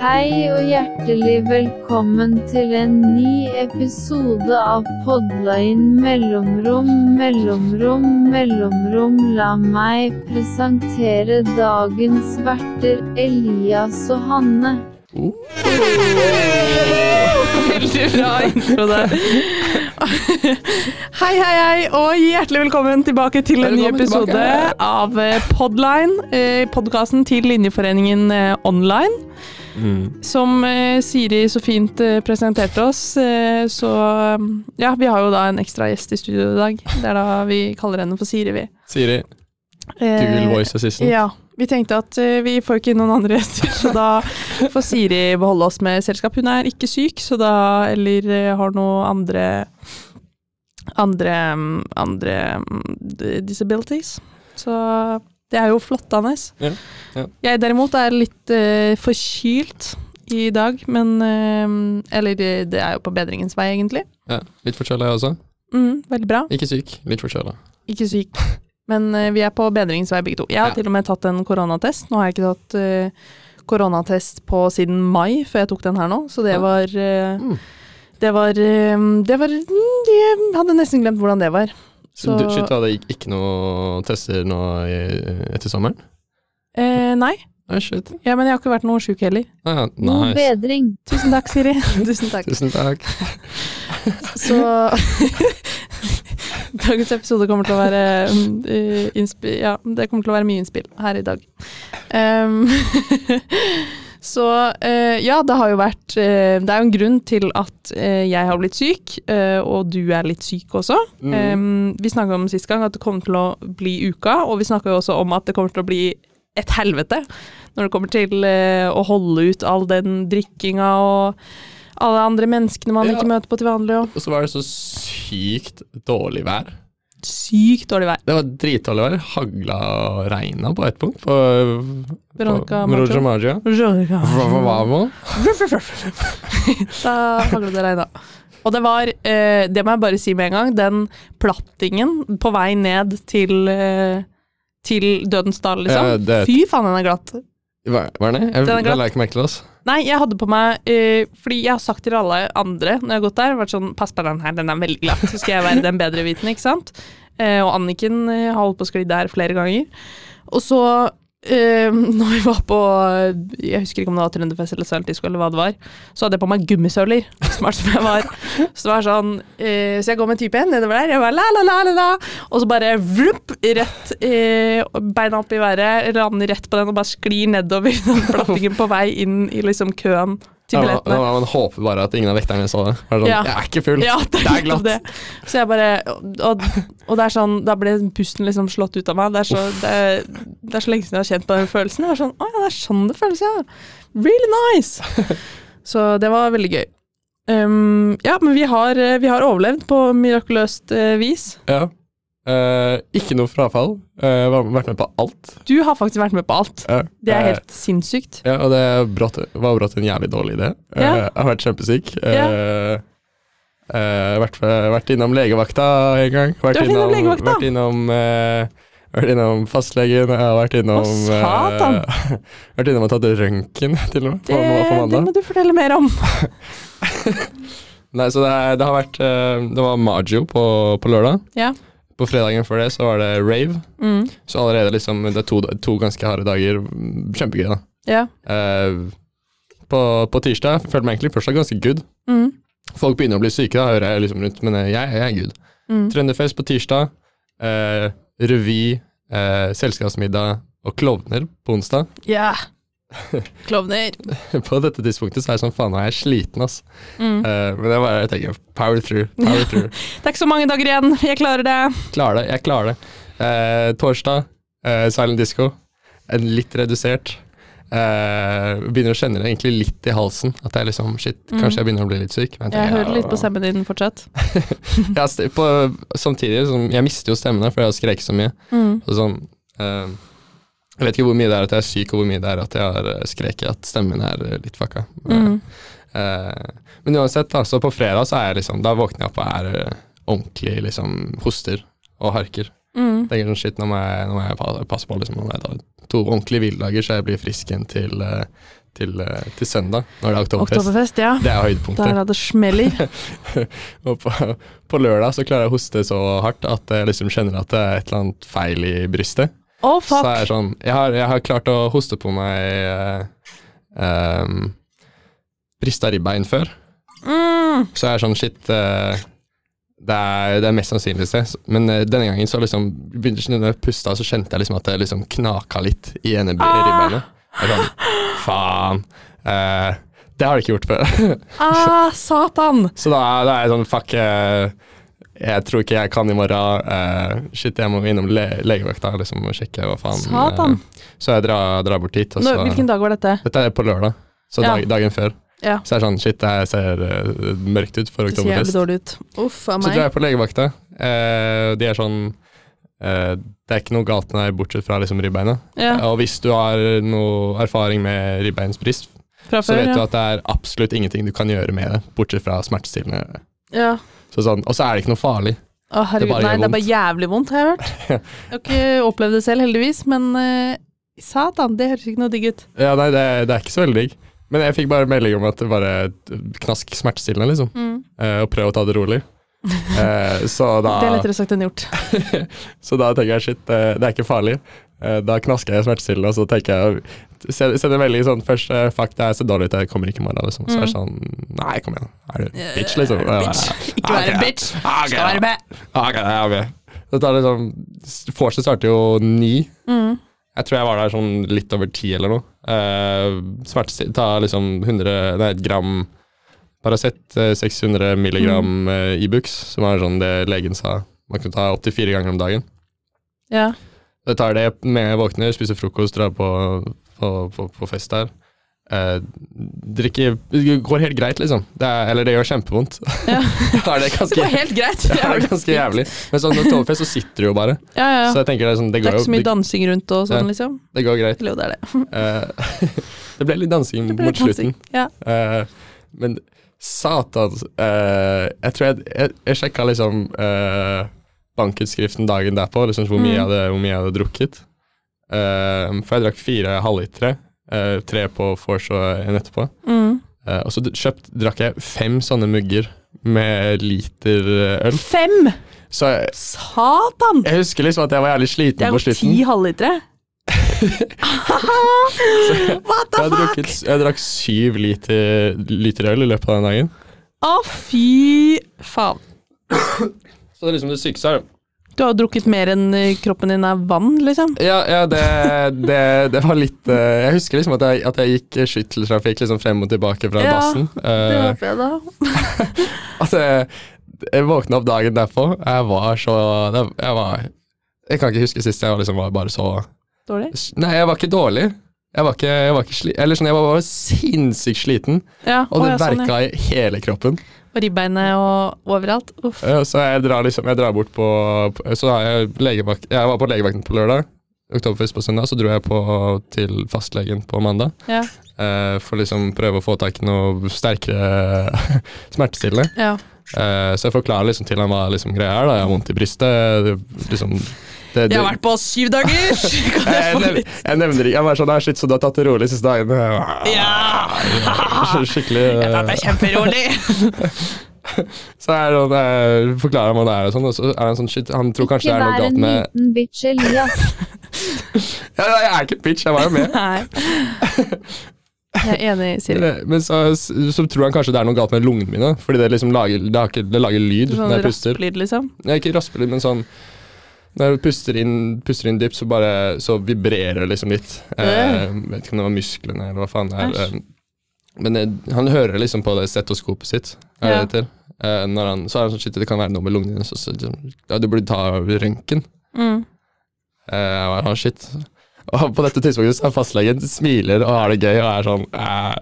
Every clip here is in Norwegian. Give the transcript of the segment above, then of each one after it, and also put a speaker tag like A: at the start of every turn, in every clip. A: Hei og hjertelig velkommen til en ny episode av Podline mellomrom, mellomrom, mellomrom. La meg presentere dagens verter, Elias og Hanne.
B: Veldig bra intro der. Hei, hei, hei, og hjertelig velkommen tilbake til en ny
C: Velkommen
B: episode
C: tilbake.
B: av eh, Podline. eh, Podkasten til Linjeforeningen eh, online.
C: Mm.
B: Som eh, Siri så fint eh, presenterte oss, eh, så mm, ja, vi har jo da en ekstra gjest i studio i dag. Det er da vi kaller henne for Siri, vi.
C: Siri,
B: Eh,
C: Google Voice Assistant.
B: Ja. Vi tenkte at eh, vi får ikke inn noen andre gjester, så da får Siri beholde oss med selskap. Hun er ikke syk, så da Eller eh, har noe andre Andre mm, Andre mm, d- disabilities. Så det er jo flottende.
C: Ja, ja.
B: Jeg derimot er litt eh, forkylt i dag, men eh, Eller eh, det er jo på bedringens vei, egentlig.
C: Ja, litt forkjøla jeg også.
B: Mm, veldig bra.
C: Ikke syk, litt forkjøla.
B: Ikke syk. Men eh, vi er på bedringens vei begge to. Jeg har
C: Ja.
B: til og med tatt en koronatest. Nå har jeg ikke tatt eh, koronatest på siden mai før jeg tok den her nå, så det
C: Ja.
B: var eh,
C: Mm.
B: Det var eh, Det var mm, Jeg hadde nesten glemt hvordan det var. Så-
C: Du, shit, du hadde ikke- ikke noe tester nå i, etter sommeren?
B: Eh, nei,
C: Nei, shit.
B: ja, men jeg har ikke vært noe sjuk heller.
C: Ah,
A: God
C: nice.
A: bedring.
B: Tusen takk, Siri. Tusen takk.
C: Tusen takk.
B: Så Dagens episode kommer til å være mm, eh, innspi- Ja, det kommer til å være mye innspill her i dag. Em, så eh, ja, det har jo vært eh, Det er jo en grunn til at eh, jeg har blitt syk, eh, og du er litt syk også.
C: Mm.
B: Em, vi snakka om sist gang at det kommer til å bli uka, og vi snakka jo også om at det kommer til å bli et helvete når det kommer til eh, å holde ut all den drikkinga og alle andre menneskene man
C: Ja.
B: ikke møter på til vanlig. Og
C: Og så var det så sykt dårlig vær.
B: sykt dårlig vær.
C: Det var dritdårlig vær. Hagla og regna på ett punkt. På,
B: Veronica
C: på Roger
B: Maggio.
C: Maggio.
B: Veronica.
C: Vavavavo.
B: Da haglet det regn, da. Og det var, eh, det må jeg bare si med en gang, den plattingen på vei ned til, eh, til Dødens dal, liksom.
C: Ja, det-
B: Fy faen, den er glatt.
C: Hva hva er det? Jeg,
B: Den er
C: det
B: glatt.
C: la jeg ikke merke til oss.
B: Nei, jeg hadde på meg eh, Fordi jeg har sagt til alle andre når jeg har gått der, vært sånn Pass på den her, den er veldig glatt. Så skal jeg være den bedrevitende, ikke sant? Eh, og Anniken eh, har holdt på å skli der flere ganger. Og så eh, når vi var på Jeg husker ikke om det var Trønderfest eller Sølvdisko eller hva det var, så hadde jeg på meg gummisøler, smart som jeg var. Så det var sånn eh, Så jeg går med typen nedover der, jeg bare la, la, la, la, la. Og så bare vrupp, rett eh, beina opp i været, lander rett på den og bare sklir nedover den plattingen på vei inn i liksom køen
C: Ja,
B: til
C: man,
B: billettene.
C: man håper bare at ingen av vekterne så det. Bare Sånn,
B: Ja.
C: Jeg er ikke full.
B: Ja, det er
C: glatt.
B: nettopp det. Så jeg bare og, og det er sånn, da ble pusten liksom slått ut av meg. Det er så, det er, det er så lenge siden jeg har kjent på den følelsen. Jeg var sånn, Å ja, det er sånn det føles, ja. Really nice. Så det var veldig gøy. Um, ja, men vi har, eh, vi har overlevd på mirakuløst eh, vis.
C: Ja. Eh, ikke noe frafall. Eh, var- vært med på alt.
B: Du har faktisk vært med på alt.
C: Ja.
B: Det er
C: Eh,
B: helt sinnssykt.
C: ja, Og det er brått, var brått en jævlig dårlig idé. Eh,
B: Ja.
C: Jeg har vært kjempesyk. Eh, eh, vært, vært innom legevakta en gang. Vært
B: Du har vært innom legevakta?
C: Vært innom, eh, vært innom fastlegen. Jeg har vært innom
B: Å, satan!
C: eh, Vært innom og tatt røntgen, til og med. På,
B: Det,
C: på
B: det
C: mandag.
B: må du fortelle mer om.
C: Nei, så det, er, det har vært eh, Det var Maggio på, på lørdag.
B: Ja.
C: På fredagen før det så var det rave.
B: Mm.
C: Så allerede liksom Det er to, to ganske harde dager. Kjempegøy, da.
B: Ja.
C: Eh, på, på tirsdag følte meg egentlig fortsatt ganske good.
B: Mm.
C: Folk begynner å bli syke, da hører jeg liksom rundt, men eh, jeg, jeg er good.
B: Mm.
C: Trønderfest på tirsdag, eh, revy, eh, selskapsmiddag og klovner på onsdag.
B: Ja. Klovner.
C: På dette tidspunktet så er jeg sånn faen, nå er jeg sliten, ass.
B: Mm.
C: Eh, men det er bare jeg tenker power through, power through.
B: Det er ikke så mange dager igjen. Jeg klarer det.
C: Klarer det, jeg klarer det. Eh, torsdag, eh, silent disco. En litt redusert. Eh, begynner å kjenne det egentlig litt i halsen. At det er liksom shit,
B: Mm.
C: kanskje jeg begynner å bli litt syk. men
B: Jeg
C: tenker,
B: hører litt
C: ja,
B: på stemmen din fortsatt.
C: Ja, st- på, samtidig som Jeg mister jo stemmene, for jeg har skreket så mye.
B: Mm.
C: Så sånn, eh, jeg vet ikke hvor mye det er at jeg er syk, og hvor mye det er at jeg har eh, skreket at stemmen min er eh, litt fucka.
B: Mm.
C: Eh, men uansett, da, så på fredag så er jeg liksom Da våkner jeg opp og er eh, ordentlig liksom hoster og harker.
B: Mm.
C: Tenker sånn, shit, nå må jeg, nå må jeg pa- passe på, liksom, nå må jeg ta to ordentlige hviledager, så jeg blir frisk igjen til, eh, til, eh, til søndag, når det er oktoberfest.
B: Oktoberfest, ja.
C: Det er
B: Der
C: høydepunktet.
B: er det smeller.
C: Og på, på lørdag så klarer jeg å hoste så hardt at jeg liksom kjenner at det er et eller annet feil i brystet.
B: Å,
C: Så er
B: fuck!
C: jeg sånn Jeg har, jeg har klart å hoste på meg eh, ehm, brista ribbein før.
B: Mm.
C: Så jeg er sånn shit eh, det, er, det er mest sannsynlig det. Men eh, denne gangen så liksom begynte jeg å puste, og så kjente jeg liksom at det liksom knaka litt i ene bri-
B: Ah.
C: ribbeinet. Jeg er sånn Faen. Eh, det har det ikke gjort før.
B: Ah, satan!
C: Så da, er- da er jeg sånn fuck eh, jeg tror ikke jeg kan i morgen. eh, shit, jeg må innom le legevakta liksom, og sjekke hva faen. eh,
B: Satan.
C: så jeg drar, drar bort hit. Og
B: Nå,
C: så,
B: hvilken dag var dette?
C: Dette er på lørdag, så
B: Ja.
C: dag, dagen før.
B: Ja.
C: Så jeg er sånn shit, det her ser eh, mørkt ut for
B: Det ser jævlig
C: oktoberfest.
B: dårlig ut. Uff
C: Så
B: a
C: drar
B: meg.
C: jeg på legevakta. Eh, de er sånn eh, Det er ikke noe galt med deg bortsett fra liksom ribbeina.
B: Ja,
C: Og hvis du har noe erfaring med ribbeinsbrist,
B: fra
C: så
B: før,
C: vet du
B: ja.
C: at det er absolutt ingenting du kan gjøre med det, bortsett fra smertestillende.
B: ja.
C: Så sånn, og så er det ikke noe farlig.
B: Å, herregud,
C: bare
B: nei,
C: gjør
B: det er bare jævlig vondt, har jeg hørt. Jeg har ikke opplevd det selv, heldigvis, men eh, satan, det høres ikke noe digg ut.
C: Ja, nei, det, det er ikke så veldig digg. Men jeg fikk bare melding om at det bare knask smertestillende, liksom.
B: Mm.
C: Eh, og prøv å ta det rolig. Eh, så da
B: Det er lettere sagt enn gjort.
C: Så da tenker jeg shit, eh, det er ikke farlig. Eh, Da knasker jeg smertestillende, og så tenker jeg send- Sender melding sånn først eh, Fuck, det her ser dårlig ut, jeg kommer ikke i morgen. Liksom. Så er det sånn Nei, kom igjen. Er du bitch, liksom?
B: Mm. Eh, bitch. Ikke
C: Ah,
B: være en bitch,
C: Okay,
B: skal være med.
C: Ok, ja, ok. Så tar det sånn Vorset starter jo ni.
B: Mm.
C: Jeg tror jeg var der sånn litt over ti eller noe. Eh, Smertestillende tar liksom 100 Nei, et gram Paracet, eh, 600 milligram
B: Mm.
C: eh, Ibux, som er sånn det legen sa man kunne ta opptil fire ganger om dagen.
B: Ja.
C: Jeg tar det med jeg våkner, spiser frokost, drar på, på, på, på fest der. Eh, drikker Det går helt greit, liksom. Det er, eller det gjør kjempevondt.
B: Ja.
C: Da er det
B: Så det
C: ganske,
B: var helt greit.
C: ja, det er ganske jævlig. Men sånn når togfest, så sitter du jo bare.
B: Ja, ja.
C: Så jeg tenker det, er sånn, det,
B: Det er
C: går,
B: ikke så
C: jo-
B: mye dansing rundt og sånn,
C: Ja.
B: liksom.
C: det, det går greit.
B: Eller jo, det er det.
C: Eh, det ble litt dansing
B: Det ble
C: mot
B: dansing.
C: slutten.
B: Ja.
C: Eh, men satan eh, Jeg tror jeg, jeg, jeg sjekka liksom eh, bankutskriften dagen derpå, liksom hvor mye, jeg,
B: Mm.
C: hadde, hvor mye jeg hadde drukket. Eh, for jeg drakk fire halvlitere, eh, tre på vors og en etterpå.
B: Mm.
C: Eh, og så d- kjøpt, drakk jeg fem sånne mugger med liter eh, øl.
B: Fem!
C: Så jeg,
B: Satan!
C: jeg husker liksom at jeg var jævlig
B: Det
C: sliten
B: er
C: på
B: jo
C: slutten.
B: ti halvlitere. What
C: Jeg,
B: the
C: har
B: fuck?
C: drukket, s- jeg drakk syv liter, liter øl i løpet av den dagen.
B: Å, fy faen.
C: Så det er liksom det sykeste er
B: Du har jo drukket mer enn eh, kroppen din er vann, liksom.
C: Ja, ja det, det, det var litt eh, Jeg husker liksom at jeg, at jeg gikk skytteltrafikk liksom frem og tilbake fra
B: Ja,
C: dassen. Eh,
B: håper jeg da.
C: at jeg, jeg våkna opp dagen derpå. Jeg var så Jeg var Jeg kan ikke huske sist jeg var liksom var bare så
B: Dårlig?
C: Nei, jeg var ikke dårlig. Jeg var ikke, jeg var ikke sli, Eller sånn, jeg var bare sinnssykt sliten,
B: Ja,
C: og det
B: å, ja, sånn, ja.
C: verka i hele kroppen.
B: Og ribbeinet og overalt. Uff.
C: Ja, Så jeg drar liksom, jeg drar bort på, på Så har jeg legevakt, jeg var på legevakten på lørdag, oktoberfest på søndag, så dro jeg på til fastlegen på mandag.
B: Ja.
C: eh, for liksom prøve å få tak i noe sterkere smertestillende.
B: Ja.
C: Eh, så jeg forklarer liksom til han hva liksom greia er. da, Jeg har vondt i brystet. Det, liksom, det, det,
B: Jeg har vært på syv dagers! Kan jeg
C: jeg,
B: få
C: nev,
B: litt?
C: jeg nevner ikke Jeg var sånn, «Nei, shit, så du har tatt det rolig de siste dagene? Jeg var
B: Ja!
C: Skikkelig eh,
B: Dette er kjemperolig!
C: Så er han, eh, forklarer han hva det er, og sånn, og så er han sånn shit, han tror kanskje det
A: Ikke
C: er noe
A: vær
C: galt
A: en
C: med
A: liten bitch, Elias.
C: Ja, Jeg er ikke bitch, jeg var jo med.
B: Nei. Jeg er enig, Siri.
C: Men, men så, så tror han kanskje det er noe galt med lungene mine. Fordi det liksom lager, det har ikke, det lager lyd
B: Sånn
C: når jeg puster.
B: rasplyd, liksom.
C: Nei, ikke raspelyd, men sånn Når jeg puster inn, puster inn dypt, så bare så vibrerer det liksom litt. Eh, vet ikke om det var musklene eller hva faen det er.
B: Æsj.
C: Eh, Men det, han hører liksom på det stetoskopet sitt. Er det
B: Ja.
C: det heter? Eh, når han, så er han sånn Shit, det kan være noe med lungene dine. Så, så, liksom, ja, du burde ta røntgen.
B: Mm.
C: Eh, jeg var, «Å, shit. Og på dette tidspunktet så er fastlegen smiler og har det gøy og er sånn eh,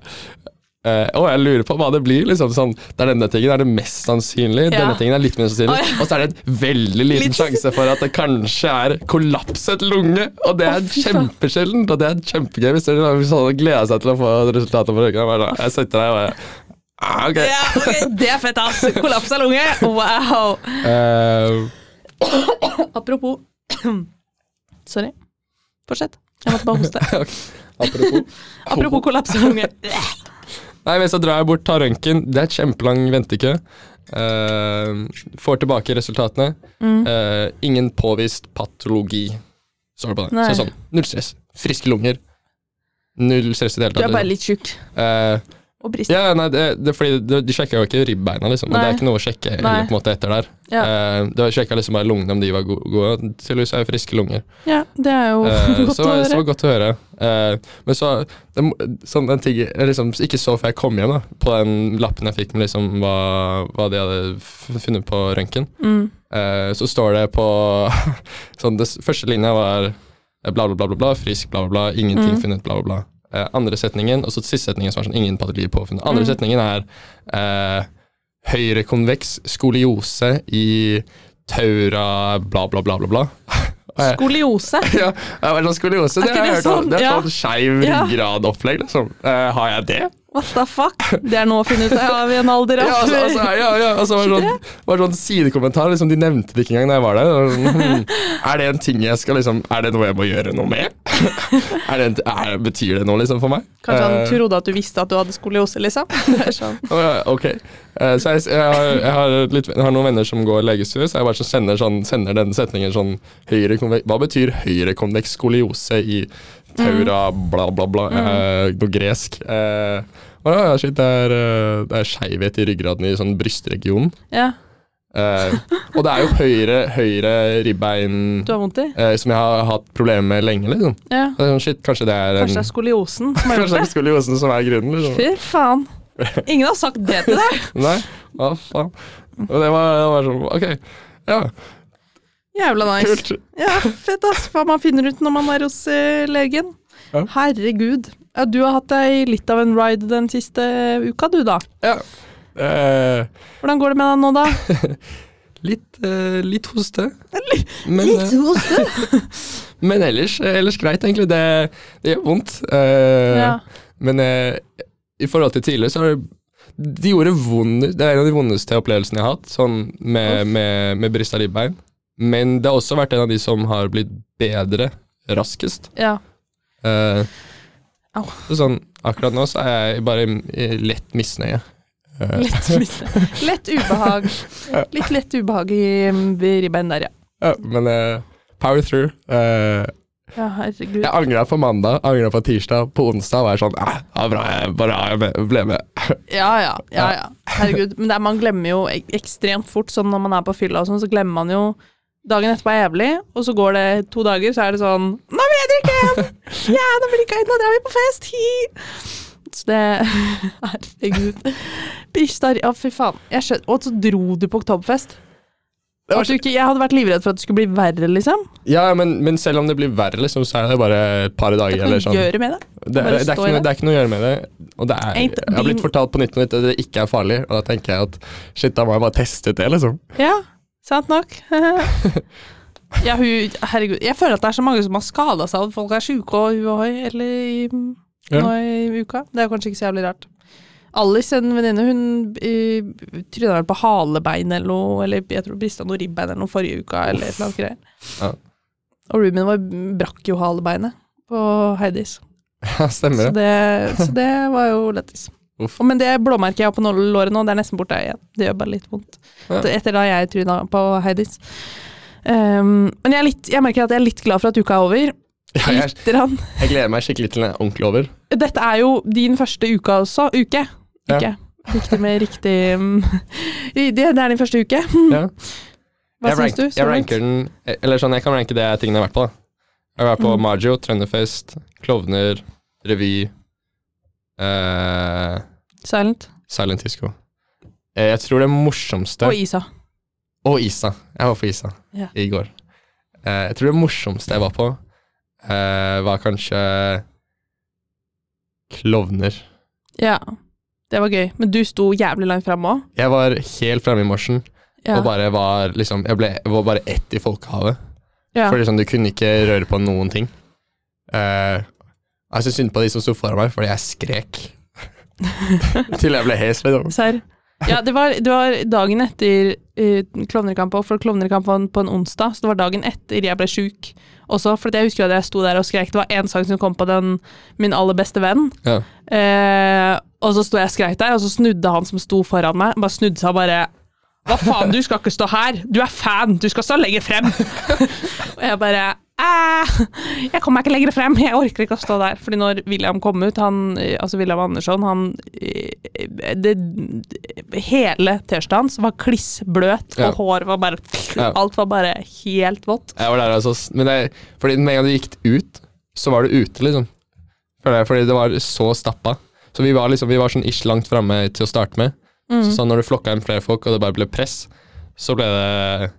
C: eh, Å, jeg lurer på hva det blir. liksom sånn, Det er denne tingen er det mest sannsynlig,
B: Ja.
C: denne tingen er litt minst sannsynlig.
B: Å, ja.
C: Og så er det en veldig liten
B: Litt-
C: sjanse for at det kanskje er kollapset lunge. Og det
B: Å,
C: er
B: fy faen.
C: kjempesjeldent, og det er kjempegøy. Hvis dere hvis alle gleder seg til å få resultatet på røyka. Jeg sitter der og bare ah, ok.
B: Ja, ok, Det er fett, ass! Kollaps av lunge! Wow!
C: Eh,
B: Apropos Sorry. Fortsett. Jeg måtte bare hoste.
C: Apropos.
B: Apropos kollaps av unge.
C: Nei, men så drar jeg bort, tar røntgen. Det er et kjempelang ventekø. Eh, får tilbake resultatene.
B: Mm.
C: Eh, ingen påvist patologi. Står det på det.
B: Nei.
C: Så sånn, null stress. Friske lunger. Null stress i det hele
B: Du er
C: tatt. liksom.
B: bare litt tjukk
C: Eh,
B: og brist.
C: ja, nei, det, det, er fordi de, de sjekka jo ikke ribbeina, liksom. Og det
B: Nei.
C: er ikke noe å sjekke
B: Nei.
C: heller, på en måte, etter der.
B: Ja.
C: Eh, det var sjekka liksom bare lungene, om de var go- gode. Tydeligvis er jo friske lunger.
B: Ja, det er jo
C: Eh,
B: godt
C: så, var- så var
B: å høre.
C: det godt å høre. Eh, men så det, må- sånn en ting, jeg liksom, Ikke så før jeg kom hjem, da, på den lappen jeg fikk med liksom, hva, hva de hadde f- funnet på røntgen.
B: Mm.
C: Eh, så står det på sånn, det, s- Første linja var eh, bla, bla, bla, bla, bla frisk, bla, bla, bla, ingenting
B: Mm.
C: funnet, bla, bla, bla. Eh, andre setningen, og så siste setningen som er sånn ingen patologi påfunnet. Andre
B: Mm.
C: setningen er eh, høyrekonveks skoliose i taura, bla, bla, bla, bla, bla. Og jeg-
B: Skoliose.
C: ja, ja, men skoliose, det
B: Er ikke
C: har jeg
B: det
C: hørt om.
B: sånn?
C: Det er
B: Ja.
C: sånn skeiv
B: Ja.
C: ryggradopplegg, liksom. Eh, har jeg det?
B: What the fuck? Det er nå funnet ut av i en alder
C: Ja,
B: av
C: altså, altså, ja, ja, altså var det sånn, var det sånn sidekommentar, liksom, de nevnte det ikke engang da jeg var der. Det var Sånn, hm, er det en ting jeg skal liksom, er det noe jeg må gjøre noe med? er det en, er, betyr det noe liksom for meg?
B: Kanskje han
C: Eh,
B: trodde at du visste at du hadde skoliose, liksom. Det er sånn.
C: Å, ja, Ok. Eh, så jeg, jeg, har, jeg, har litt, jeg har noen venner som går legestue, så jeg bare sånn sender, sånn, sender den setningen sånn høyre konvek, Hva betyr høyrekonveks skoliose i taura,
B: Mm.
C: bla, bla, bla? eh, noe gresk. Eh, og ja, ja, shit, det er, eh, det er skeivhet i ryggraden i sånn brystregionen.
B: Ja,
C: Eh, og det er jo høyre, høyre ribbein
B: du har vondt i?
C: eh, som jeg har hatt problemer med lenge, liksom.
B: Ja.
C: Så jeg er sånn, shit, kanskje det er en,
B: Kanskje det er skoliosen som har
C: Kanskje det
B: gjort
C: er
B: det?
C: skoliosen som er grunnen? Liksom.
B: Fy faen. Ingen har sagt det til deg.
C: Nei, hva faen. Og det var, det var sånn, ok, ja,
B: Jævla nice.
C: kult.
B: Ja, fett ass, hva man finner ut når man er hos eh, legen.
C: Ja.
B: Herregud. Ja, du har hatt deg litt av en ride den siste uka, du da.
C: Ja. Eh,
B: Hvordan går det med deg nå, da?
C: litt, eh, litt hoste. Men, eh,
B: hoste.
C: men ellers, ellers greit, egentlig. Det, det gjør vondt. Eh,
B: Ja.
C: Men eh, i forhold til tidligere, så har det de gjorde vond, Det er en av de vondeste opplevelsene jeg har hatt, sånn med, med, med brista ribbein. Men det har også vært en av de som har blitt bedre raskest.
B: ja.
C: Eh,
B: Au.
C: så sånn, akkurat nå så er jeg bare i lett misnøye. Eh,
B: Lett, mis- lett ubehag. Litt lett ubehag i mm, i ribbein der, ja.
C: ja, men eh, power through. Eh,
B: Ja, herregud.
C: jeg angra på mandag, angra på tirsdag, på onsdag var jeg sånn ah, ja, bra, jeg bare jeg ble- ble med.
B: Ja, ja, ja, ja. Herregud. Men det er, man glemmer jo ek- ekstremt fort, sånn når man er på fylla og sånn, så glemmer man jo Dagen etterpå er jævlig, og så går det to dager, så er det sånn Nå vil jeg drikke igjen! Ja, nå vil jeg drikke igjen, nå drar vi på fest! Hi! Så det Herregud. Bristar Ja, fy faen. Jeg skjønner. Og så dro du på Oktoberfest.
C: Det var
B: At du ikke, jeg hadde vært livredd for at det skulle bli verre, liksom.
C: Ja, men, men selv om det blir verre, liksom, så er det bare et par
B: Det
C: dager.
B: kan
C: Eller
B: du
C: sånn.
B: gjøre med det.
C: Det,
B: Bare
C: det, er
B: stå
C: ikke, noe-
B: i det.
C: det er ikke noe å gjøre med det. Og det er,
B: Ain't
C: jeg har blitt
B: been-
C: fortalt på nytt og nytt at det ikke er farlig, og da tenker jeg at shit, da må jeg bare teste ut det, liksom.
B: Ja, sant nok. ja, hun, herregud, jeg føler at det er så mange som har skada seg, og folk er sjuke og hu og hoi eller i,
C: Ja.
B: nå i uka. Det er kanskje ikke så jævlig rart. Alice, en venninne, hun uh, tryna vel på halebein eller noe, eller jeg tror brista noe ribbein eller noe forrige uka, eller et eller annet greier.
C: Ja.
B: Og roomien vår brakk jo halebeinet på Heidis,
C: Ja, stemmer
B: så
C: det.
B: det, så det var jo lættis.
C: Uff.
B: Og- Men det blåmerket jeg har på nå- låret nå, det er nesten borte igjen. Det gjør bare litt vondt
C: Ja.
B: etter da jeg tryna på Heidis. Um, men jeg, er litt, jeg merker at jeg er litt glad for at uka er over.
C: Ja, jeg,
B: Litt grann.
C: jeg gleder meg skikkelig til den er ordentlig over.
B: Dette er jo din første uke også. Uke.
C: Ja.
B: Uke. Riktig med riktig um, Det det er din første uke.
C: Ja.
B: Hva
C: jeg
B: syns
C: rank,
B: du? så
C: Jeg
B: langt?
C: ranker den, eller sånn, jeg kan ranke det tingene jeg har vært på. da. Jeg har vært på
B: Mhm.
C: Maggio, Trønderfest, Klovner, revy, eh,
B: Silent.
C: Silent Disco. Eh, jeg tror det morsomste
B: Og Isa.
C: Og Isa. Jeg var på Isa
B: Ja.
C: i går. Eh, jeg tror det morsomste jeg var på, eh, var kanskje klovner.
B: Ja. Det var gøy. Men du sto jævlig langt fram òg.
C: Jeg var helt fremme i morsen
B: Ja.
C: og bare var liksom Jeg, ble, jeg var bare ett i folkehavet.
B: Ja.
C: For liksom, du kunne ikke røre på noen ting. Eh, jeg syntes synd på de som sto foran meg, fordi jeg skrek. Til jeg ble hes, liksom.
B: Serr. Ja, det var, det var dagen etter uh, Klovnerkampen, for Klovnerkampen var på en onsdag, så det var dagen etter jeg ble sjuk også. For jeg husker at jeg sto der og skrek. Det var én sang som kom på den 'Min aller beste venn'.
C: Ja.
B: Eh, og så sto jeg og skreik der, og så snudde han som sto foran meg, bare snudde seg og bare Hva faen, du skal ikke stå her! Du er fan! Du skal stå lenger frem! og jeg bare «Æ, Jeg kommer meg ikke lenger frem! Jeg orker ikke å stå der. Fordi når William kom ut, han, eh, altså William Andersson, han eh, det, Hele T-skjorta hans var klissbløt,
C: Ja.
B: og håret var bare
C: Ja.
B: Alt var bare helt vått.
C: Jeg var der altså, s- men det, fordi med en gang du gikk ut, så var du ute, liksom. Føler jeg, Fordi det var så stappa. Så vi var liksom, vi var sånn ish langt framme til å starte med.
B: Mm.
C: Så,
B: Mhm.
C: sånn når du flokka inn flere folk, og det bare ble press, så ble det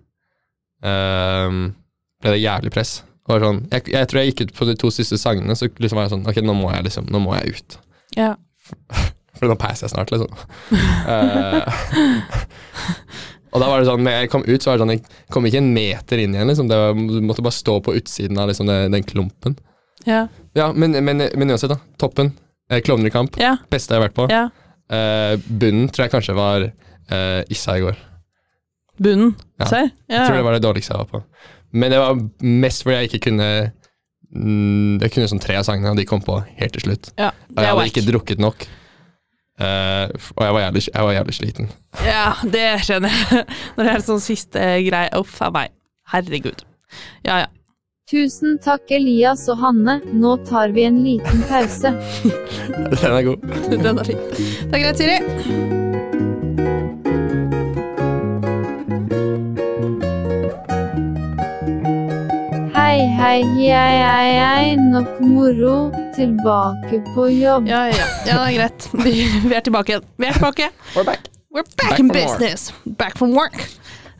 C: ehm, ble det jævlig press. Det var sånn, jeg, jeg tror jeg gikk ut på de to siste sangene, så liksom var jeg sånn Ok, nå må jeg liksom, nå må jeg ut.
B: Ja.
C: For nå peiser jeg snart, liksom. Eh, og da var det sånn, når jeg kom ut, så var det sånn, jeg kom ikke en meter inn igjen, liksom. Det var, du måtte bare stå på utsiden av liksom, den, den klumpen.
B: Ja.
C: Ja, men, men, men uansett, da. Toppen. Eh, Klovnekamp.
B: Ja.
C: Beste jeg har vært på.
B: ja.
C: Eh, bunnen tror jeg kanskje var eh, Issa i går.
B: Bunnen.
C: Ja.
B: Serr? Ja.
C: Jeg tror det var det dårligste jeg var på. Men det var mest fordi jeg ikke kunne mm, Jeg kunne sånn tre av sangene, og de kom på helt til slutt.
B: ja.
C: Og jeg
B: er
C: hadde
B: whack.
C: ikke drukket nok. Eh, f- og jeg var jævlig, jeg var jævlig sliten.
B: Ja, det skjønner jeg. Når det er sånn siste greie Uff a meg. Herregud. Ja, ja.
A: Tusen takk Elias og Hanne, nå tar vi en liten pause.
C: Den er god.
B: Den er fin. Det er greit, Siri.
A: Hei, hei, jeg er nok moro, tilbake på jobb.
B: Ja, ja, ja. ja det er greit. Vi, vi er tilbake igjen. Vi er tilbake.
C: We're back.
B: We're back,
C: Back from
B: in
C: work.
B: business. Back from work.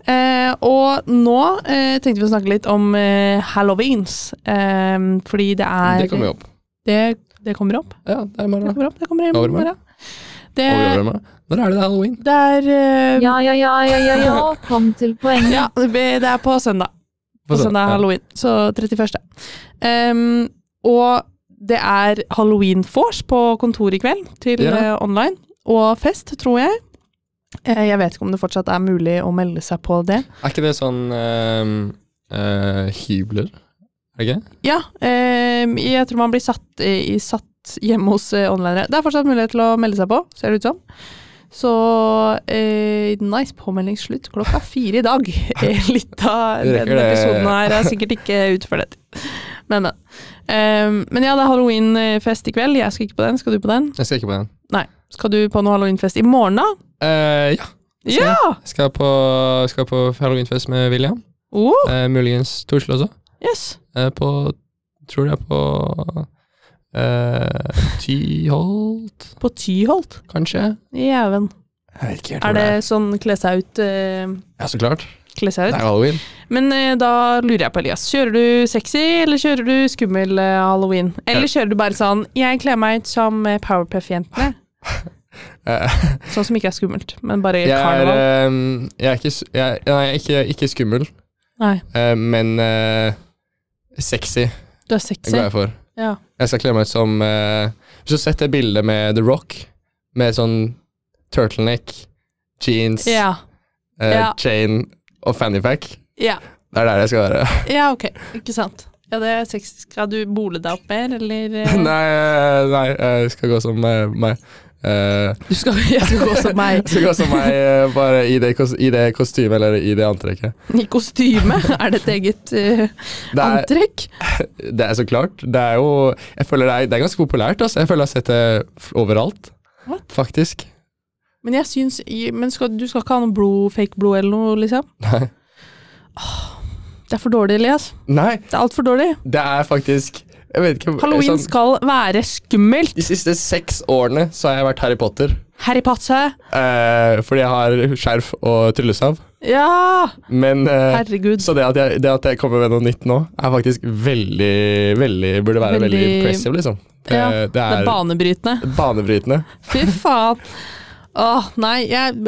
B: Eh, og nå eh, tenkte vi å snakke litt om eh, halloweens. Eh, fordi det er
C: Det kommer jo opp.
B: Det, det kommer opp.
C: Ja, det er i
B: Det
C: morgen.
B: kommer opp. Det kommer i
C: Over i
B: morgen.
C: morgen.
B: Det,
C: Over i morgen. Når er det det er halloween?
B: det er eh,
A: Ja, ja, ja, ja, ja, ja, kom til poenget.
B: Ja, det blir- det er på søndag. På
C: søndag,
B: søndag er
C: ja.
B: halloween, så 31. Ehm, og det er halloween-vors på kontoret i kveld, til
C: Ja.
B: eh, online. Og fest, tror jeg. Eh, jeg vet ikke om det fortsatt er mulig å melde seg på det.
C: Er ikke det sånn ehm, eh, hybler? Er det ikke?
B: Ja, ehm, jeg tror man blir satt, i, i- satt hjemme hos eh, onlinere. Det er fortsatt mulighet til å melde seg på, ser det ut som. Så eh, nice påmeldingsslutt klokka fire i dag. Eh, Litt av
C: Vi
B: den
C: rekker det.
B: episoden her er sikkert ikke ute før det. Men, men. Ehm, men ja, det er halloweenfest i kveld. Jeg skal ikke på den. Skal du på den?
C: Jeg skal ikke på den.
B: Nei. Skal du på noe halloweenfest i morgen, da?
C: Eh, ja. Skal
B: Ja!
C: Jeg skal på, skal på halloweenfest med William.
B: Oh,
C: Eh, muligens Torsel også.
B: yes.
C: Eh, på Tror det er på eh, Tyholt,
B: På Tyholt.
C: kanskje?
B: Jæven.
C: Jeg vet ikke helt
B: Er det sånn kle seg ut? eh,
C: Ja, så klart.
B: kle seg
C: Det
B: ut?
C: er halloween.
B: Men eh, da lurer jeg på, Elias, kjører du sexy, eller kjører du skummel eh, halloween? Eller kjører du bare sånn 'jeg kler meg ut som eh, Powerpuff-jentene'?
C: Eh,
B: Sånn som ikke er skummelt, men bare
C: jeg, er,
B: karneval.
C: ehm, jeg er ikke s- jeg, Nei, jeg er ikke, ikke skummel,
B: Nei,
C: eh, men eh, sexy
B: du er sexy.
C: går jeg for.
B: Ja.
C: Jeg skal kle meg ut som eh, Hvis du har sett det bildet med The Rock, med sånn turtleneck, jeans,
B: Ja.
C: eh,
B: ja.
C: chain og fannypack,
B: ja.
C: det er der jeg skal være.
B: Ja, ok. Ikke sant. Ja, det er sexy. Skal du bole deg opp mer, eller? eh?
C: nei, eh, nei, jeg skal gå som eh, meg. Eh,
B: Du skal, jeg skal gå som meg.
C: jeg skal gå som meg eh, bare i det, kos- i det kostymet eller i det antrekket.
B: I kostyme? Er det et eget eh,
C: Det er,
B: antrekk?
C: det er så klart. Det er jo Jeg føler det er, det er ganske populært. Altså. Jeg føler jeg har sett det f- overalt,
B: What?
C: faktisk.
B: Men jeg syns Men skal, du skal ikke ha noe blod, fake blod eller noe, liksom?
C: Nei.
B: Det er for dårlig, Elias.
C: nei,
B: Det er altfor dårlig.
C: det er faktisk Jeg vet ikke
B: Halloween
C: sånn-
B: skal være skummelt.
C: De siste seks årene så har jeg vært Harry Potter.
B: Harry Potter.
C: Eh, fordi jeg har skjerf og tryllestav.
B: Ja!
C: Men eh,
B: Herregud.
C: Så det at, jeg, det at jeg kommer med noe nytt nå, er faktisk veldig, veldig Burde være veldig,
B: Veldig-
C: impressive, liksom. Det,
B: Ja,
C: det
B: Det
C: er
B: er banebrytende.
C: banebrytende.
B: Fy faen. Åh, nei, jeg,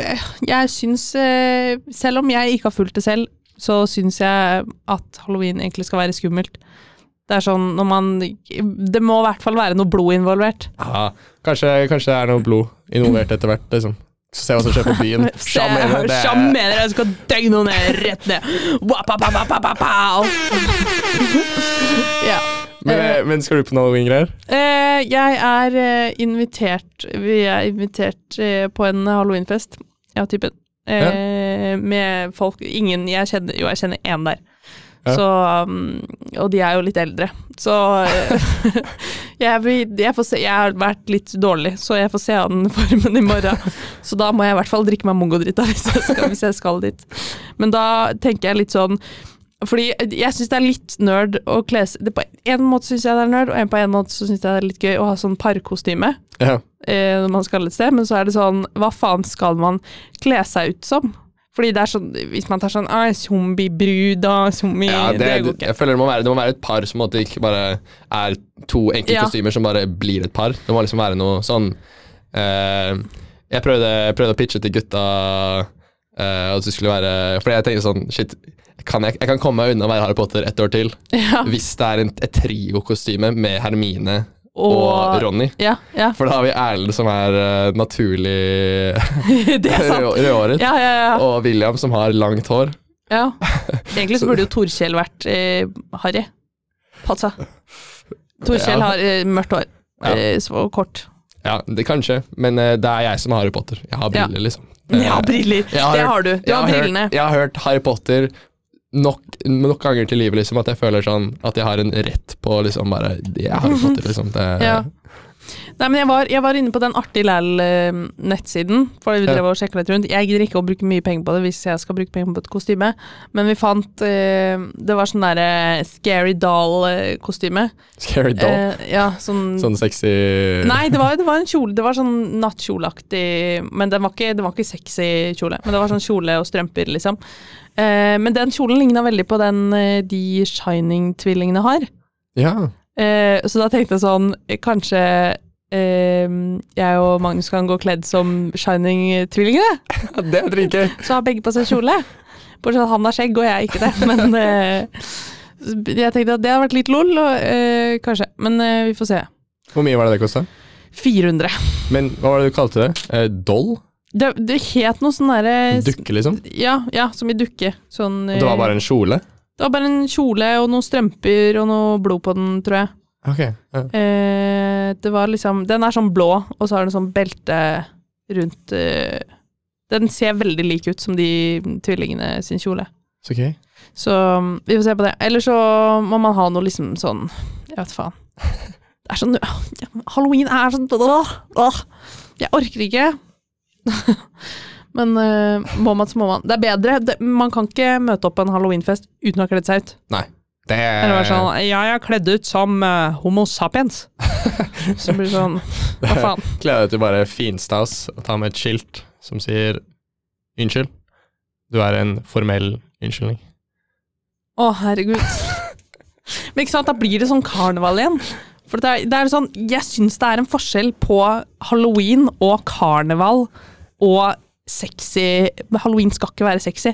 B: jeg syns eh, Selv om jeg ikke har fulgt det selv, så syns jeg at halloween egentlig skal være skummelt. Det er sånn når man Det må i hvert fall være noe blod involvert.
C: Ja, kanskje, kanskje det er noe blod involvert etter hvert, liksom. Så ser jeg hva som skjer på byen.
B: Se,
C: Sjam mener det.
B: Sjam mener jeg skal døgne henne ned rett ned. Wapapapapapapau. ja.
C: Men, eh, men skal du på Halloween-greier?
B: Eh, jeg er eh, invitert Vi er invitert eh, på en halloweenfest. Ja, typen. Eh, Med folk Ingen jeg kjenner Jo, jeg kjenner én der.
C: Ja.
B: Så, um, og de er jo litt eldre, så eh, jeg, vil- jeg får se Jeg har vært litt dårlig, så jeg får se an formen i morgen. Så da må jeg i hvert fall drikke meg mongodritt da, hvis, jeg skal- hvis jeg skal dit. Men da tenker jeg litt sånn fordi jeg syns det er litt nerd å kle seg det På en måte syns jeg det er nerd, og en på en måte så syns jeg det er litt gøy å ha sånn parkostyme
C: Ja.
B: eh, når man skal et sted, men så er det sånn Hva faen skal man kle seg ut som? Fordi det er sånn Hvis man tar sånn ah, zombiebrud og zombie
C: Ja, det,
B: Det går ikke.
C: jeg føler det må, være, det må være et par som på en måte ikke bare er to enkle
B: Ja.
C: kostymer som bare blir et par. Det må liksom være noe sånn eh, Jeg prøvde, prøvde å pitche til gutta eh, at det skulle være For jeg tenkte sånn Shit, kan jeg, jeg kan komme meg unna å være Harry Potter ett år til
B: Ja.
C: hvis det er en, et triokostyme med Hermine og,
B: Og-
C: Ronny.
B: Ja, ja.
C: For da har vi Erlend som er eh, naturlig
B: det er sant.
C: rød- rødhåret,
B: Ja, ja, ja.
C: og William som har langt hår.
B: ja. Egentlig så burde jo Torkjell vært eh, harry. Passa. Torkjell
C: Ja.
B: har eh, mørkt hår.
C: Ja.
B: Eh, så kort.
C: Ja, det kanskje, men eh, det er jeg som har Harry Potter. Jeg har
B: Ja.
C: briller, liksom.
B: Men jeg har briller!
C: Jeg
B: det
C: hørt-
B: har du. Du
C: jeg
B: har
C: hørt-
B: brillene.
C: Jeg har hørt Harry Potter nok, nok ganger til livet liksom, at jeg føler sånn at jeg har en rett på liksom bare Det er Harry Potter, liksom. Det,
B: Ja. Nei, men jeg var, jeg var inne på den artig læl-nettsiden, for vi drev og sjekket litt rundt. Jeg gidder ikke å bruke mye penger på det hvis jeg skal bruke penger på et kostyme, men vi fant eh, Det var sånn derre Scary Doll-kostyme.
C: Scary doll.
B: Eh, ja, sånn,
C: sånn sexy
B: Nei, det var, det var en kjole. Det var sånn nattkjoleaktig Men den var ikke, det var ikke sexy kjole. Men det var sånn kjole og strømper, liksom. Eh, men den kjolen ligna veldig på den eh, de Shining-tvillingene har.
C: Ja.
B: Eh, så da tenkte jeg sånn, eh, kanskje eh, jeg og Magnus kan gå kledd som Shining-tvillingene?
C: ja, det er dritgøy.
B: Så har begge på seg kjole. Bortsett fra at han har skjegg og jeg ikke det. Men eh, jeg tenkte at det hadde vært litt lol, og, eh, kanskje. Men eh, vi får se.
C: Hvor mye var det det kosta?
B: 400.
C: Men hva var det du kalte det? Eh, doll?
B: Det, det het noe sånn derre
C: Dukke, liksom?
B: Ja, ja, som i dukke. Sånn,
C: Og det var
B: eh,
C: bare en kjole?
B: det var bare en kjole og noen strømper og noe blod på den, tror jeg.
C: Ok. Ja.
B: Eh, det var liksom Den er sånn blå, og så har den sånn belte rundt eh, Den ser veldig lik ut som de tvillingene sin kjole.
C: Så gøy.
B: Så mm, vi får se på det. Eller så må man ha noe liksom sånn Jeg vet faen. Det er sånn Halloween er sånn Åh, Ah, Jeg orker ikke. Men eh, må man, så må man. Det er bedre. Det, man kan ikke møte opp på en halloweenfest uten å ha kledd seg ut.
C: Nei. Det
B: Eller
C: Eh.
B: være sånn Ja, jeg er kledd ut som eh, Homo sapiens. Så blir det sånn Hva faen?
C: Gleder deg til bare finstas og ta med et skilt som sier unnskyld. Du er en formell unnskyldning.
B: Å, herregud. Men ikke sant, da blir det sånn karneval igjen. For det er, det er sånn, jeg syns det er en forskjell på halloween og karneval og sexy Men Halloween skal ikke være sexy.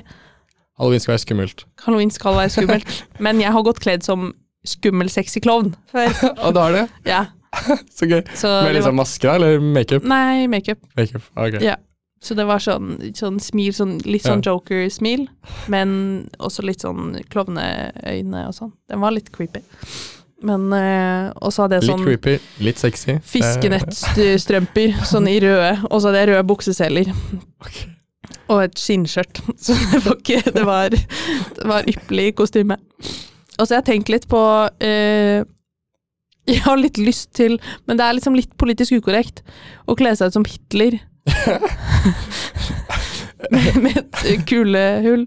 C: Halloween skal være skummelt.
B: Halloween skal være skummelt. Men jeg har gått kledd som skummel, sexy klovn før.
C: Og da er det.
B: Ja,
C: Så gøy. Med
B: så
C: sånn-
B: det
C: liksom
B: var,
C: maske da, eller makeup?
B: nei, makeup.
C: Makeup, ah, ok.
B: Ja. Så det var sånn, sånn smil, sånn, litt sånn joker-smil, men også litt sånn klovneøyne og sånn. Den var litt creepy. Men eh, Og så hadde jeg
C: Litt
B: sånn
C: creepy, litt sexy.
B: Fiskenettstrømper, sånn i røde. Og så hadde jeg røde bukseseler.
C: Ok.
B: Og et skinnskjørt. Så det var ikke Det var, det var ypperlig kostyme. Og så har jeg tenkt litt på eh, Jeg har litt lyst til Men det er liksom litt politisk ukorrekt å kle seg ut som Hitler. med, med et kulehull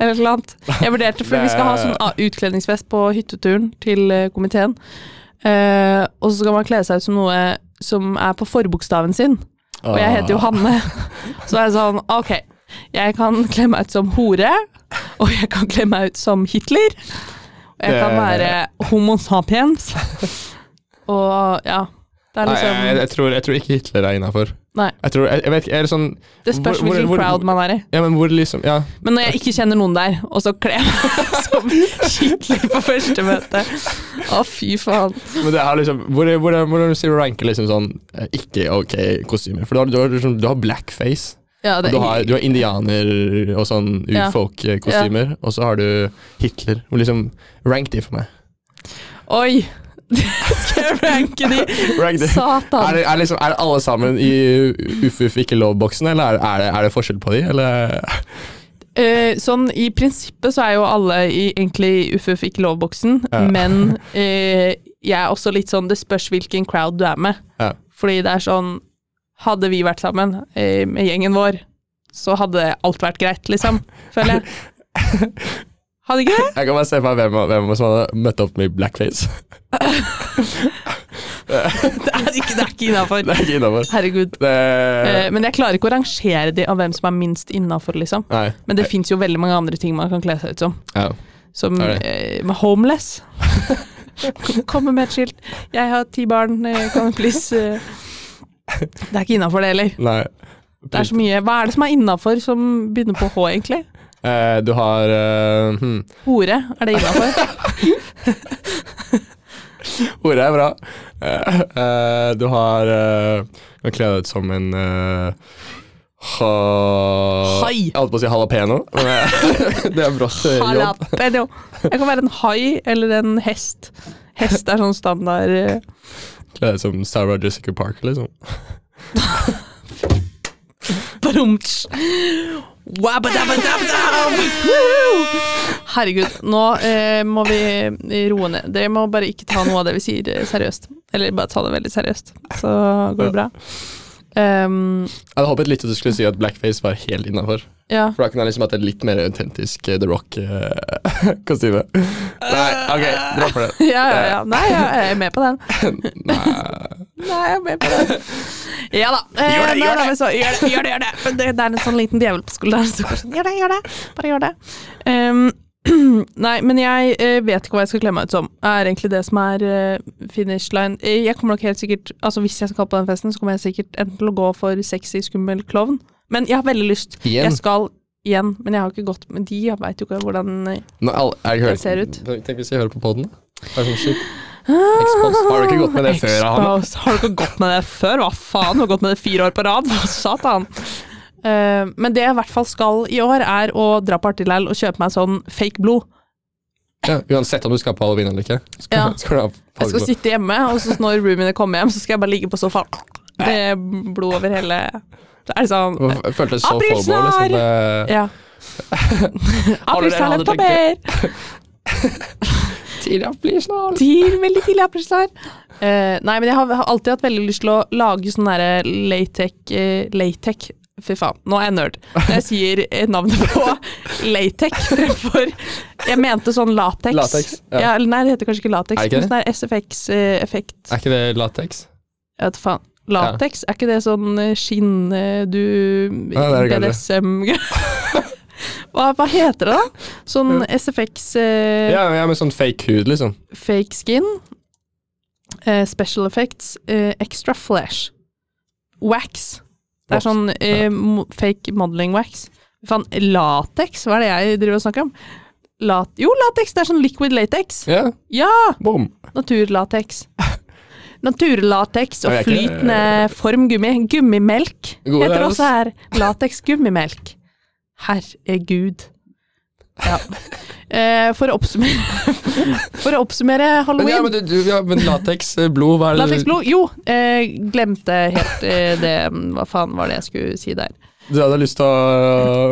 B: eller noe annet. Jeg vurderte, for vi skal ha sånn ah, utkledningsfest på hytteturen til eh, komiteen. Eh, og så skal man kle seg ut som noe som er på forbokstaven sin.
C: Eh,
B: Og jeg heter jo
C: ah,
B: Hanne. Så er jeg sånn, ok, jeg kan kle meg ut som hore, og jeg kan kle meg ut som Hitler, og jeg kan
C: Det-
B: være homo sapiens. Og ja, det er
C: Nei, jeg, jeg,
B: liksom,
C: tror, jeg tror ikke Hitler er innafor.
B: Nei.
C: Jeg tror, jeg, jeg vet ikke, er det sånn
B: det spørs
C: hvor- hvor-
B: hvilken
C: hvor-
B: crowd man er i.
C: Ja, men hvor liksom Ja,
B: Men når jeg ikke kjenner noen der, og så kler jeg meg som Hitler på første møte. Å fy faen.
C: men det er liksom Hvor, hvor, hvor, hvor ranker liksom sånn eh, ikke ok kostymer? For du har, du har, liksom, du har blackface.
B: Ja, det,
C: Du har, du har indianer og sånn
B: Ja.
C: urfolk-kostymer, og så har du Hitler. Og liksom, rank de for meg.
B: Oi! Skal jeg ranke de?
C: Rank de. Er,
B: Satan.
C: det, er, liksom, er det alle sammen i uff-uff ikke lov-boksen, eller er, er, det, er det forskjell på de? Eller?
B: Eh, sånn i prinsippet så er jo alle i, egentlig i uff-uff ikke lov-boksen,
C: Ja.
B: men eh, jeg er også litt sånn Det spørs hvilken crowd du er med.
C: Ja.
B: Fordi det er sånn Hadde vi vært sammen eh, med gjengen vår, så hadde alt vært greit, liksom. Føler jeg. Hadde ikke det?
C: Jeg kan bare se for meg hvem, hvem som hadde møtt opp med blackface.
B: Det er ikke, det er ikke innafor.
C: Det er ikke innafor.
B: Herregud.
C: Det
B: Eh, men jeg klarer ikke å rangere de av hvem som er minst innafor, liksom.
C: Nei.
B: Men det fins jo veldig mange andre ting man kan kle seg ut som.
C: Ja.
B: Som
C: Er det?
B: eh, med homeless. Kom- Kommer med et skilt. 'Jeg har ti barn, eh, kan du please eh. Det er ikke innafor det heller.
C: Nei.
B: Det er så mye. Hva er det som er innafor som begynner på H, egentlig?
C: Eh, du har eh, hm.
B: Hore, er det innafor?
C: Ordet er bra. Eh, eh, du har eh, Kan kle deg ut som en eh, ha...
B: Hai.
C: Jeg holdt på å si jalapeño, men eh, det er bra jobb.
B: Jalapeno. Jeg kan være en hai eller en hest. Hest er sånn standard eh.
C: Kle deg ut som Sarah Jessica Parker, liksom.
B: Brumtsj. Wabadabadabdam. Woohoo! Herregud, nå eh, må vi roe ned. Dere må bare ikke ta noe av det vi sier eh, seriøst. Eller bare ta det veldig seriøst, så går det bra. Ehm,
C: Jeg hadde håpet litt at du skulle si at blackface var helt innafor.
B: ja.
C: For da kunne jeg liksom hatt et litt mer autentisk eh, The Rock-kostyme. Nei, ok, dropp det. Eh,
B: Ja, ja, ja. Nei, ja, jeg er med på den. Nei, jeg er med på den. Ja da. Eh,
C: Gjør det,
B: nei,
C: gjør
B: da,
C: det.
B: men så, gjør det, gjør det, gjør det. Men Det, det er en sånn liten djevel på skulderen som går sånn Gjør det, gjør det. Bare gjør det. Ehm, nei, men jeg eh, vet ikke hva jeg skal kle meg ut som. Er egentlig det som er eh, finish line. Eh, Jeg kommer nok helt sikkert Altså Hvis jeg skal på den festen, så kommer jeg sikkert enten til å gå for sexy, skummel klovn. Men jeg har veldig lyst.
C: Igjen?
B: Jeg skal igjen, men jeg har ikke gått med de. Jeg veit jo ikke hvordan eh,
C: Nå, alle, jeg hører,
B: Det ser ut. Ah.
C: Tenk hvis jeg hører på poden. Har du ikke gått med det før? Han?
B: Exposed. Har du ikke gått med det før? Hva faen? Du har gått med det fire år på rad. Hva satan? Eh, men det jeg i hvert fall skal i år, er å dra på Artilæl og kjøpe meg sånn fake blod.
C: Ja, uansett om du skal på halloween eller ikke. Skal,
B: Ja.
C: skal du ha
B: Jeg skal
C: farge på-
B: sitte hjemme, og så når roomiene kommer hjem, så skal jeg bare ligge på sofaen. Det er blod over hele Det er sånn
C: Jeg følte det så
B: Aprilsnarr!
C: FOMO. Liksom. Det-
B: Ja. Aprilsnarr
C: hadde
B: på
C: tenkt
B: mer! Til, veldig tidlig aprilsnarr. Eh, nei, men jeg har, har alltid hatt veldig lyst til å lage sånn derre latek uh, Latek Fy faen, nå er jeg nerd. Når jeg sier eh, navnet på latek fremfor Jeg mente sånn latex.
C: Latex, ja.
B: eller nei, det heter kanskje ikke latex.
C: Er det ikke
B: men sånn der SFX-effekt.
C: Er ikke det lateks?
B: Jeg vet faen. Latex, er ikke det sånn eh, skinn eh, du
C: Ja, det er det
B: BDSM hva, hva heter det, da? Sånn SFX eh,
C: Ja, ja, med sånn fake hud, liksom.
B: Fake skin. eh, special effects. eh, extra flesh. Wax. Det er
C: Wax,
B: sånn eh, mo- fake modeling wax. Faen, latex, hva er det jeg driver og snakker om? Lat jo, latex! Det er sånn liquid latex.
C: Ja,
B: Ja!
C: boom.
B: Naturlatex. Naturlatex og
C: Jeg er ikke-
B: flytende formgummi. Gummimelk
C: God
B: heter
C: idé,
B: også her. Latex-gummimelk. Herregud. Ja. Eh, for, å oppsummere, for å oppsummere
C: Men, ja,
B: halloween
C: men, du, du, ja, men lateks, eh, blod, hva er det
B: Lateksblod? Jo, eh, glemte helt eh, det Hva faen var det jeg skulle si der?
C: du hadde lyst til å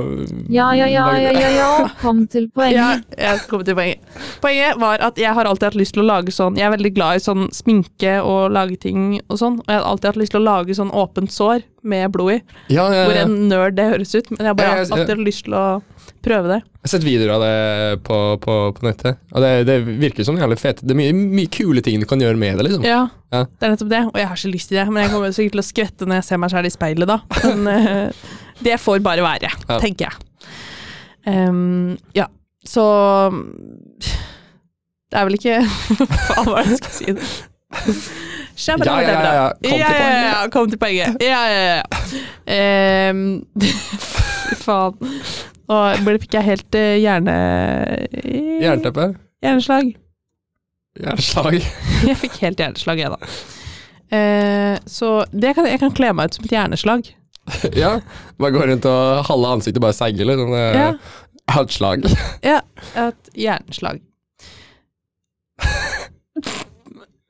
A: Ja, ja, ja, ja, ja, ja. Kom til
B: Ja,
A: poenget.
B: jeg kom til poenget. Poenget var at jeg har alltid hatt lyst til å lage sånn Jeg er veldig glad i sånn sminke og lage ting og sånn, og jeg har alltid hatt lyst til å lage sånn åpent sår med blod i.
C: Ja, ja,
B: Hvor
C: ja.
B: en nerd det høres ut, men jeg har
C: Ja,
B: bare
C: jeg-
B: alltid hatt lyst til å prøve det.
C: Jeg har sett videoer av det på, på, på nettet, og det, det virker som jævlig fett. Det er mye, mye kule ting du kan gjøre med det, liksom.
B: Ja,
C: Ja.
B: det er nettopp det, og jeg har så lyst til det, men jeg kommer sikkert til å skvette når jeg ser meg selv i speilet da. Men eh, det får bare være,
C: Ja.
B: tenker jeg. Ehm, ja, så Det er vel ikke Hva var det jeg skulle si? Shabba
C: Ja, ja, ja, ja. Kom til
B: ja, ja, ja, kom til poenget. Ja, ja, ja. Ehm, Fy faen. Nå ble- fikk jeg helt eh, hjerne...
C: Jernteppe.
B: Hjerneslag.
C: Jernslag.
B: Jeg fikk helt hjerneslag, jeg, da. Eh, så det kan, jeg kan kle meg ut som et hjerneslag.
C: ja, bare gå rundt og halve ansiktet bare seiger, liksom. Det er
B: Ja,
C: Outslag.
B: ja et hjerneslag.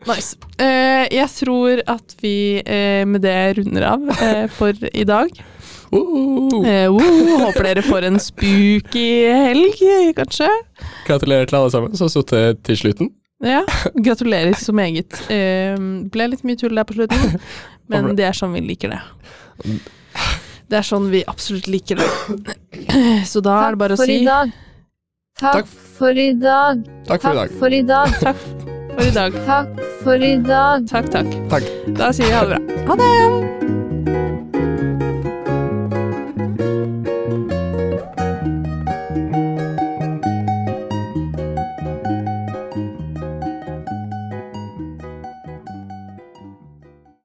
B: Nice. Eh, jeg tror at vi eh, med det runder av eh, for i dag.
C: Uh,
B: Eh, woo, håper dere får en spooky helg, kanskje.
C: gratulerer til alle sammen som har sittet til slutten.
B: Ja, gratulerer så meget. Eh, ble litt mye tull der på slutten, men det er sånn vi liker det. Det er sånn vi absolutt liker det. Så da er det bare å
A: for
B: si
A: i dag.
C: Takk
A: Takk for i dag.
C: Takk for i dag.
A: Takk for i dag.
B: takk
A: Takk
B: for i dag.
A: for i dag.
B: Takk, takk.
C: Takk.
B: Da sier vi ha det bra. Ha det!